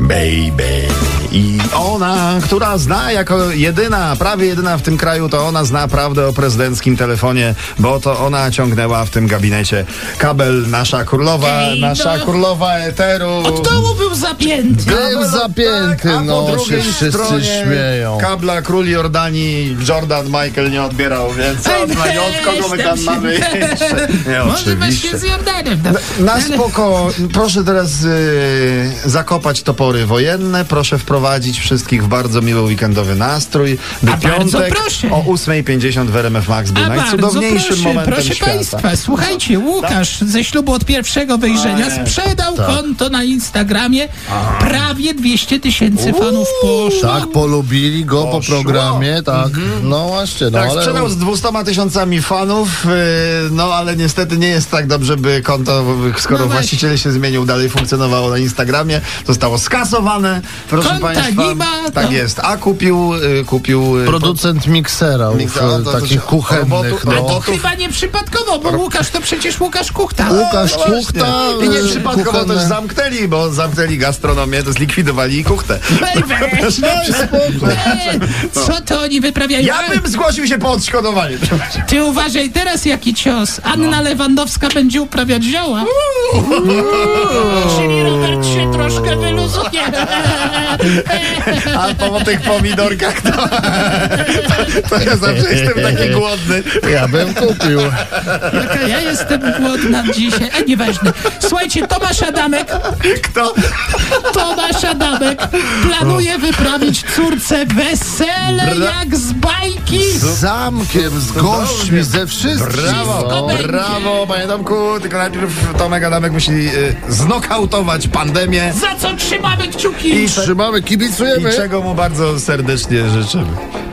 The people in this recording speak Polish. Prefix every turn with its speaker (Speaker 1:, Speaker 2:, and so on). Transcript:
Speaker 1: Baby. I ona, która zna jako jedyna, prawie jedyna w tym kraju, to ona zna prawdę o prezydenckim telefonie, bo to ona ciągnęła w tym gabinecie kabel, nasza królowa,
Speaker 2: Ej,
Speaker 1: nasza
Speaker 2: no.
Speaker 1: królowa eteru.
Speaker 2: Od dołu był zapięty.
Speaker 1: Kabel,
Speaker 3: Był zapięty,
Speaker 1: tak, a po
Speaker 3: no
Speaker 1: drugiej
Speaker 3: się wszyscy
Speaker 1: stronie
Speaker 3: śmieją.
Speaker 1: Kabla król Jordanii Jordan Michael nie odbierał, więc
Speaker 2: Ej,
Speaker 1: od,
Speaker 2: weź
Speaker 1: od kogo my tam
Speaker 2: się.
Speaker 1: mamy jeszcze? Nie,
Speaker 2: Może
Speaker 1: oczywiście.
Speaker 2: właśnie z Jordanem. No.
Speaker 1: Na spoko, proszę teraz y, zakopać topory wojenne, proszę wprowadzić wszystkich w bardzo miły weekendowy nastrój, by
Speaker 2: A bardzo
Speaker 1: piątek
Speaker 2: proszę.
Speaker 1: o 8.50 w RMF Max był
Speaker 2: A bardzo
Speaker 1: najcudowniejszym
Speaker 2: proszę,
Speaker 1: no momentem
Speaker 2: proszę
Speaker 1: świata. Tak,
Speaker 2: Państwa, słuchajcie, Łukasz ze ślubu od pierwszego
Speaker 1: A,
Speaker 2: wejrzenia
Speaker 1: nie.
Speaker 2: sprzedał
Speaker 1: Tak.
Speaker 2: konto na Instagramie. Prawie 200 tysięcy fanów poszło.
Speaker 3: Tak, polubili go po
Speaker 1: Poszło.
Speaker 3: programie, tak. No właśnie, no
Speaker 1: Tak,
Speaker 3: ale...
Speaker 1: sprzedał z 200 tysiącami fanów, y, no ale niestety nie jest tak dobrze, by konto, skoro
Speaker 2: No weź.
Speaker 1: właściciel się zmienił, dalej funkcjonowało na Instagramie, zostało skasowane, proszę
Speaker 2: Konta no.
Speaker 1: Państwa.
Speaker 2: nie ma,
Speaker 1: tak
Speaker 2: to-
Speaker 1: jest, a kupił, y, kupił y,
Speaker 3: Producent mikserów,
Speaker 1: Miksera, to- to się-
Speaker 3: takich kuchennych,
Speaker 1: robotu-
Speaker 3: no.
Speaker 1: robotu-
Speaker 2: Chyba nieprzypadkowo,
Speaker 1: Tak.
Speaker 2: bo Łukasz to przecież Łukasz Kuchta.
Speaker 3: Łukasz
Speaker 1: No właśnie.
Speaker 3: Kuchta...
Speaker 1: I nie
Speaker 3: y,
Speaker 1: przypadkowo
Speaker 3: kuchenne-
Speaker 1: też zamknęli, bo zamknęli gastronomię, to zlikwidowali kuchtę.
Speaker 2: Ej, weź, no, e, Co to oni wyprawiają?
Speaker 1: Ja bym zgłosił się po odszkodowanie.
Speaker 2: Ty uważaj teraz jaki cios. Anna Lewandowska będzie uprawiać zioła. Czyli Robert się troszkę wyluzuje.
Speaker 1: A po tych pomidorkach to, to, to ja zawsze jestem taki głodny.
Speaker 3: Ja bym kupił.
Speaker 2: Jaka ja jestem głodna dzisiaj. A nieważne. Słuchajcie, Tomasz Adamek,
Speaker 1: Kto?
Speaker 2: Tomasz Adamek planuje wyprawić córce wesele jak z bajki.
Speaker 3: Z zamkiem, z gośćmi, ze no. wszystkim.
Speaker 1: Brawo,
Speaker 2: Wszystko będzie.
Speaker 1: brawo, panie Tomku. Tylko najpierw Tomek Adamek musi y, znokautować pandemię
Speaker 2: Za co trzymamy kciuki?
Speaker 3: Trzymamy,
Speaker 1: i
Speaker 3: kibicujemy.
Speaker 1: czego mu bardzo serdecznie życzymy.